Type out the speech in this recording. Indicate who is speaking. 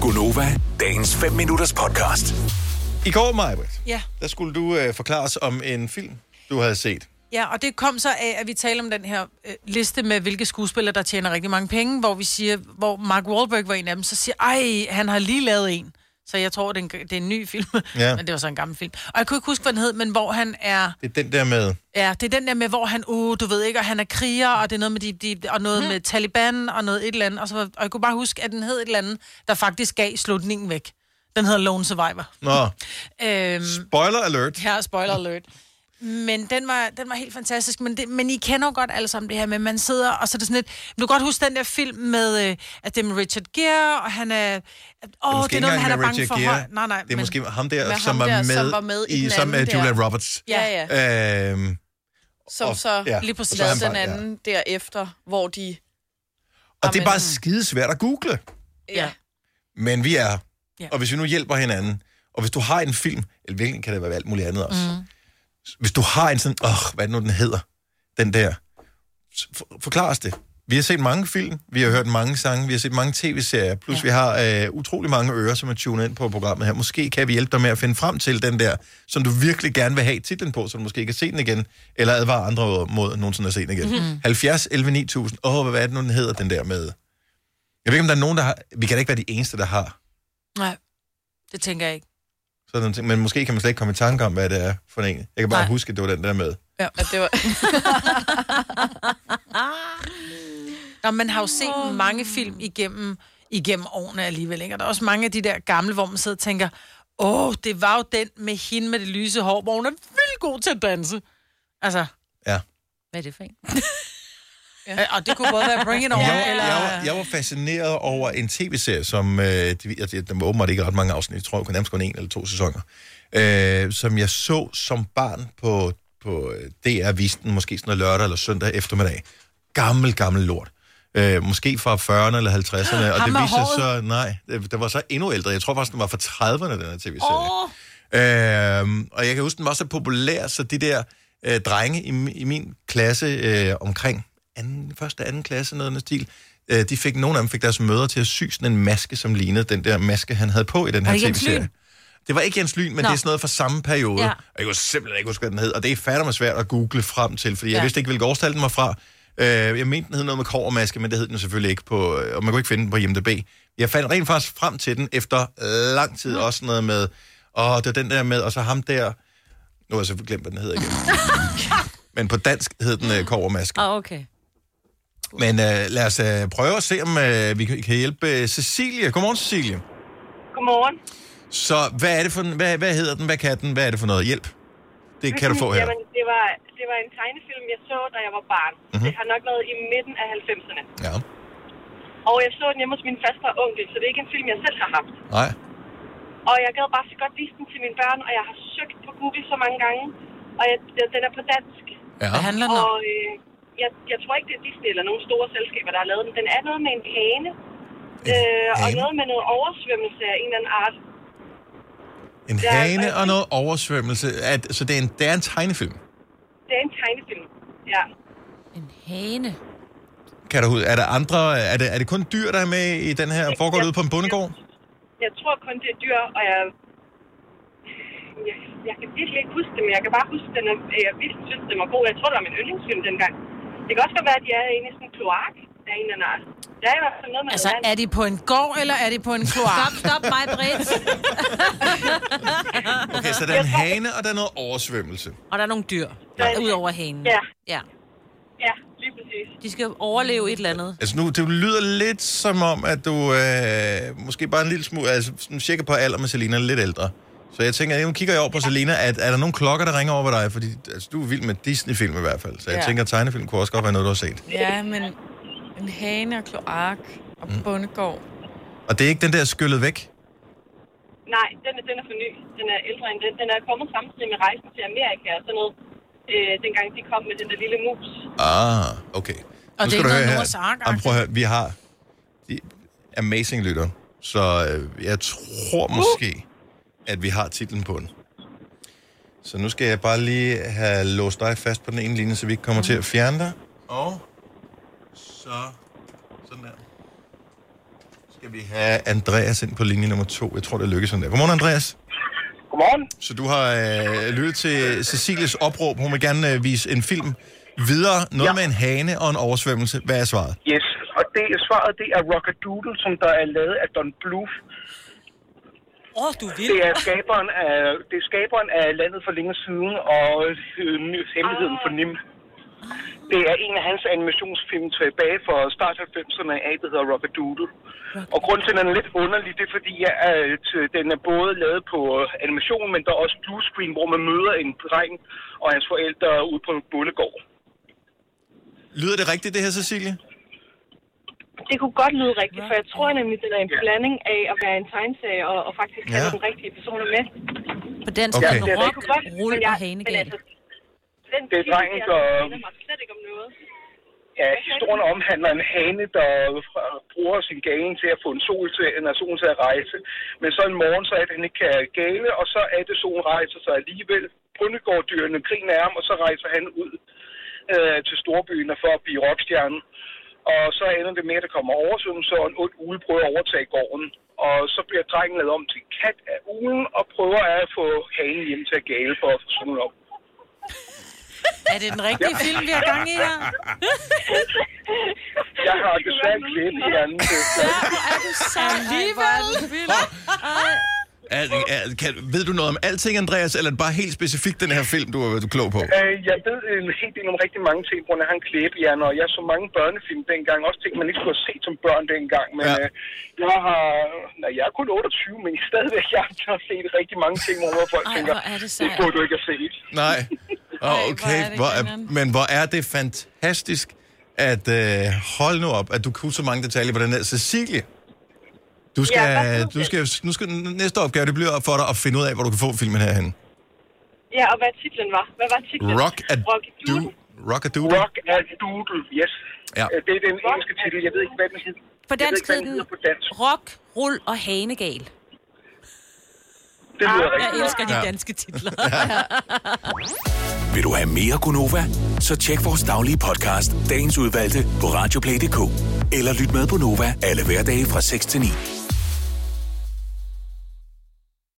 Speaker 1: Gunova, dagens 5 minutters podcast.
Speaker 2: I går, Majbrit,
Speaker 3: Ja.
Speaker 2: der skulle du øh, forklare os om en film, du havde set.
Speaker 3: Ja, og det kom så af, at vi taler om den her øh, liste med, hvilke skuespillere, der tjener rigtig mange penge, hvor vi siger, hvor Mark Wahlberg var en af dem, så siger, ej, han har lige lavet en. Så jeg tror, det er en, det er en ny film,
Speaker 2: Ja.
Speaker 3: ja. men det var så en gammel film. Og jeg kunne ikke huske, hvad den hed, men hvor han er...
Speaker 2: Det er den der med...
Speaker 3: Ja, det er den der med, hvor han, uh, du ved ikke, og han er kriger, og det er noget med, de, de, og noget med Taliban, og noget et eller andet. Og, så, var- og jeg kunne bare huske, at den hed et eller andet, der faktisk gav slutningen væk. Den hedder Lone Survivor.
Speaker 2: Nå,
Speaker 3: Øhm,
Speaker 2: spoiler alert.
Speaker 3: her spoiler alert. Men den var, den var helt fantastisk. Men, det, men I kender jo godt alle sammen det her med, at man sidder, og så er det sådan lidt... Du kan godt huske den der film med, øh, at det er med Richard Gere, og han er... Åh, det,
Speaker 2: måske
Speaker 3: det er
Speaker 2: ikke
Speaker 3: noget,
Speaker 2: engang
Speaker 3: han er
Speaker 2: med
Speaker 3: bange
Speaker 2: Richard
Speaker 3: for
Speaker 2: Gere.
Speaker 3: høj. Nej, nej.
Speaker 2: Det er
Speaker 3: men-
Speaker 2: måske ham der,
Speaker 4: Med
Speaker 2: som,
Speaker 4: ham
Speaker 2: er
Speaker 4: der,
Speaker 2: med
Speaker 4: som var med i den
Speaker 2: sammen med
Speaker 4: anden
Speaker 2: Julia
Speaker 4: der.
Speaker 2: Roberts.
Speaker 4: Ja, ja.
Speaker 2: Øhm,
Speaker 4: Som
Speaker 2: og-
Speaker 4: og, så
Speaker 2: ja,
Speaker 4: ja.
Speaker 3: lige præcis.
Speaker 2: og så er han
Speaker 4: lavede den
Speaker 2: bare- ja.
Speaker 4: anden ja. derefter, hvor de...
Speaker 2: Og det er
Speaker 4: Amen.
Speaker 2: bare skidesvært at google.
Speaker 4: Ja.
Speaker 2: Men vi er her.
Speaker 3: Ja.
Speaker 2: Og hvis vi nu hjælper hinanden, og hvis du har en film, eller hvilken kan det være alt muligt andet også. Hvis du har en sådan, åh, hvad er det nu, den hedder? Den der. S- For, forklar os det. Vi har set mange film, vi har hørt mange sange, vi har set mange tv-serier, plus ja. vi har øh, utrolig mange ører, som er tunet ind på programmet her. Måske kan vi hjælpe dig med at finde frem til den der, som du virkelig gerne vil have titlen på, så du måske kan se den igen, eller advare andre mod nogensinde at se den igen. Mm-hmm. 70 11 9000. Åh, hvad er det nu, den hedder, den der med? Jeg ved ikke, om der er nogen, der har... Vi kan da ikke være de eneste, der har
Speaker 3: Nej, det tænker jeg ikke.
Speaker 2: sådan nogle ting. Men måske kan man slet ikke komme i tanke om, hvad det er for en. Jeg kan bare Nej.
Speaker 3: Nej.
Speaker 2: huske, at det var den der med.
Speaker 4: At det var...
Speaker 3: Nå, man har jo set oh. mange film igennem, igennem årene alligevel, ikke? Og der er også mange af de der gamle, hvor man sidder og tænker, åh, oh, det var jo den med hende med det lyse hår, hvor hun er vildt god til at danse. Altså,
Speaker 2: Ja.
Speaker 5: Hvad er det for en?
Speaker 3: ja. øh, og det kunne både være Bring It On,
Speaker 2: Jeg,
Speaker 3: eller...
Speaker 2: jeg, var, jeg var fascineret over en tv-serie, som... Øh, de, altså, den var åbenbart ikke ret mange afsnit. Jeg tror, jeg kunne nærmest kun en eller to sæsoner. Øh, som jeg så som barn på, på øh, DR-visten, måske sådan noget lørdag eller søndag eftermiddag. Gammel, gammel lort. Øh, måske fra 40'erne eller 50'erne. Og
Speaker 3: Ham
Speaker 2: det
Speaker 3: med
Speaker 2: viste sig
Speaker 3: håret?
Speaker 2: så... Nej, det, det var så endnu ældre. Jeg tror faktisk, den var fra 30'erne, den her tv-serie. Øhm, og jeg kan huske, den var så populær, så de der øh, drenge i, mi- i min klasse øh, omkring anden, første og anden klasse, noget af den stil, øh, de fik, nogle af dem fik deres mødre til at sy sådan en maske, som lignede den der maske, han havde på i den her
Speaker 5: Er det Jens
Speaker 2: tv-serie.
Speaker 5: Lyn?
Speaker 2: Det var ikke Jens Lyn, men Nå.
Speaker 5: Nå.
Speaker 2: det er sådan noget fra samme periode. Ja.
Speaker 5: Ja.
Speaker 2: Og jeg kunne simpelthen ikke huske, hvad den hed. Og det er fandme svært at google frem til, fordi ja. jeg
Speaker 5: Ja.
Speaker 2: vidste ikke, hvilket årstal den var fra. Øh, jeg mente, den hed noget med kovermaske, men det hed den selvfølgelig ikke på... øh, Og man kunne ikke finde den på IMDb. Jeg fandt rent faktisk frem til den efter lang tid. Mm. Også noget med... Og det var den der med... Og så ham der... Nu har jeg selvfølgelig glemt, hvad den hedder igen. men på dansk hed den øh, kovermaske.
Speaker 5: Ah, okay.
Speaker 2: Men øh, lad os øh, prøve at se, om øh, vi kan kan hjælpe øh, Cecilie. Godmorgen, Cecilie.
Speaker 6: Godmorgen.
Speaker 2: Så hvad er det for en- hvad, hvad hedder den? Hvad kan den? Hvad er det for noget hjælp? Det kan du få her.
Speaker 6: Jamen, det var, det var en tegnefilm, jeg så, da jeg var barn.
Speaker 2: Mhm.
Speaker 6: Mm-hmm. Det har nok været i midten af 90'erne.
Speaker 2: Ja.
Speaker 6: Og jeg så den hjemme hos min faste og onkel, så det er ikke en film, jeg selv har haft.
Speaker 2: Nej.
Speaker 6: Og jeg gad bare så godt vise den til mine børn, og jeg har søgt på Google så mange gange. Og jeg, den- den er på dansk.
Speaker 2: Ja.
Speaker 3: Hvad handler den om?
Speaker 6: Og øh, jeg, jeg tror ikke, det er Disney eller nogle store selskaber, der har lavet den. Den er noget med en hane. Øh, og
Speaker 2: hane?
Speaker 6: noget med noget oversvømmelse af en eller anden art.
Speaker 2: En
Speaker 6: Ja,
Speaker 2: hane
Speaker 6: altså-
Speaker 2: og noget oversvømmelse. At, så det er, en, det er en tegnefilm.
Speaker 6: Det er en tegnefilm. Ja.
Speaker 5: En hane.
Speaker 2: Kan du ud? Er der andre? Er det, er det kun dyr, der er med i den her? Foregår det ude på en bondegård?
Speaker 6: Jeg tror kun, det er dyr, og jeg... Jeg, jeg kan virkelig ikke huske det, men jeg kan bare huske, den er, øh, jeg virkelig synes, den var god. Jeg tror, det var min yndlingsfilm dengang. Det kan også godt være, at de er inde i sådan en kloak af en eller anden art. Der er i hvert fald noget med
Speaker 3: Altså,
Speaker 6: noget
Speaker 3: er
Speaker 6: vand.
Speaker 3: de på en gård, eller er de på en kloak?
Speaker 5: Stop, stop mig, Britt.
Speaker 2: Okay, så der er en hane, og der er noget oversvømmelse.
Speaker 5: Og der er nogle dyr,
Speaker 6: Ja.
Speaker 5: ud over hanen.
Speaker 6: Ja.
Speaker 5: ja.
Speaker 6: Ja, lige præcis.
Speaker 5: De skal overleve et eller andet.
Speaker 2: Altså nu, det lyder lidt som om, at du øh, måske bare en lille smule, altså sådan cirka på alder med Selina, lidt ældre. Så jeg tænker, nu kigger jeg over på Selina, at er der nogle klokker, der ringer over ved dig? Fordi altså, du er vild med Disney-film i hvert fald, så jeg
Speaker 4: Ja.
Speaker 2: tænker, at tegnefilm kunne også godt være noget, du har set.
Speaker 4: ja, men en hane og kloak og
Speaker 2: Mm.
Speaker 4: bondegård.
Speaker 2: Og det er ikke den der skyllet væk?
Speaker 6: Nej, den er, den er for ny. Den er ældre end den. Den er kommet samtidig med rejsen til Amerika og sådan noget. Øh, dengang de kom med den der lille mus.
Speaker 2: Ah, okay. Nu
Speaker 3: Og det er
Speaker 2: skal
Speaker 3: ikke
Speaker 2: du
Speaker 3: noget
Speaker 2: høre
Speaker 3: Noahs
Speaker 2: her.
Speaker 3: Ark-agtigt.
Speaker 2: Jamen, prøv at høre, vi har de amazing lytter, så øh, jeg tror
Speaker 3: Uh!
Speaker 2: måske, at vi har titlen på den. Så nu skal jeg bare lige have låst dig fast på den ene linje, så vi ikke kommer til at fjerne dig. Og så sådan der. Så Skal vi have Andreas ind på linje nummer to? Jeg tror, det lykkes sådan der. Godmorgen, Andreas.
Speaker 7: Godmorgen.
Speaker 2: Så du har øh, lyttet til Cecilies opråb. Hun vil gerne øh, vise en film videre. Noget ja.
Speaker 7: Ja.
Speaker 2: med en hane og en oversvømmelse. Hvad er svaret?
Speaker 7: Yes, og det, svaret det er Rockadoodle, som der er lavet af Don Bluth.
Speaker 5: Åh, oh, du vil.
Speaker 7: Det er skaberen af, det er skaberen af Landet for længe siden og øh, Hemmeligheden for Nim. Det er en af hans animationsfilm tilbage fra start 90'erne af, der hedder Rockadoodle. Og grunden til, at den er lidt underlig, det er fordi, at øh, den er både lavet på øh, animation, men der er også bluescreen, hvor man møder en dreng og hans forældre ude på en bondegård.
Speaker 2: Lyder det rigtigt, det her, Cecilie?
Speaker 6: Det kunne godt lyde rigtigt, for jeg tror nemlig, det er en
Speaker 7: Ja.
Speaker 6: blanding af at være en tegneserie og, og faktisk have
Speaker 2: Ja.
Speaker 6: den rigtige personer med.
Speaker 5: På dansk
Speaker 2: Okay.
Speaker 5: okay.
Speaker 2: Ja, det
Speaker 5: den
Speaker 2: er
Speaker 5: rock,
Speaker 6: kunne godt,
Speaker 5: rulle
Speaker 6: men
Speaker 5: og
Speaker 6: jeg- men
Speaker 5: hanegal.
Speaker 6: altså, den
Speaker 7: Det er
Speaker 6: titel
Speaker 7: drengen,
Speaker 6: der,
Speaker 7: der-
Speaker 6: minder mig slet ikke om noget.
Speaker 7: Ja, historien omhandler en hane, der øh, bruger sin gane til at få en sol til, en sol til at rejse. Men så en morgen, så er det, han ikke kan gale, og så er det, solen rejser sig alligevel. Bundegårddyrene griner af ham, og så rejser han ud øh, til storbyen for at blive rockstjerne. Og så ender det med, at der kommer oversvømmelse, og en ond uge prøver at overtage gården. Og så bliver drengen lavet om til en kat af ugen, og prøver at få hanen hjem til at gale for at få solen op.
Speaker 3: Er det den rigtige film, vi har gang i her?
Speaker 7: Jeg har desværre en klip i anden.
Speaker 5: Er du så alligevel?
Speaker 2: Er, er, kan, ved du noget om alting, Andreas, eller er det bare helt specifikt den her film, du er, du er klog på?
Speaker 7: Øh, jeg ved en hel del om rigtig mange ting, på grund af han klæbehjerne, og jeg så mange børnefilm dengang, også ting, man ikke skulle have set som børn dengang, men
Speaker 2: Ja.
Speaker 7: ja. øh, jeg har, nej, jeg er kun 28, men stadigvæk, jeg har set rigtig mange ting, hvor folk
Speaker 5: Ej,
Speaker 7: tænker,
Speaker 5: hvor er det
Speaker 7: det
Speaker 5: sejt.
Speaker 7: burde du ikke have set.
Speaker 2: Nej. Oh,
Speaker 4: hvor er
Speaker 2: okay.
Speaker 4: det
Speaker 2: Hvor er,
Speaker 4: grineren.
Speaker 2: men hvor er det fantastisk, at øh, hold nu op, at du kunne så mange detaljer på den her. Cecilie, du skal,
Speaker 6: Ja,
Speaker 2: ja,
Speaker 6: hvad
Speaker 2: du skal, nu skal næste opgave, det bliver op for dig at finde ud af, hvor du kan få filmen herhen.
Speaker 6: Ja, og hvad titlen var. Hvad var titlen?
Speaker 2: Rock a
Speaker 6: Rockadoodle.
Speaker 2: do, rock a doodle.
Speaker 7: Rock and Doodle, yes.
Speaker 2: Ja.
Speaker 7: Ja. Det er den engelske titel, jeg ved ikke, hvad den hedder.
Speaker 5: På
Speaker 7: Jeg ved
Speaker 5: dansk
Speaker 7: ikke, hvad
Speaker 5: hed
Speaker 7: den
Speaker 5: den
Speaker 7: hedder på dansk.
Speaker 5: rock, rul og hanegal.
Speaker 7: Det lyder
Speaker 5: Jeg
Speaker 7: rigtig godt.
Speaker 5: elsker de
Speaker 2: Ja.
Speaker 5: danske titler.
Speaker 1: Vil du have mere Gunova? Så tjek vores daglige podcast, dagens udvalgte, på radioplay.dk. Eller lyt med på Nova alle hverdage fra 6 til 9.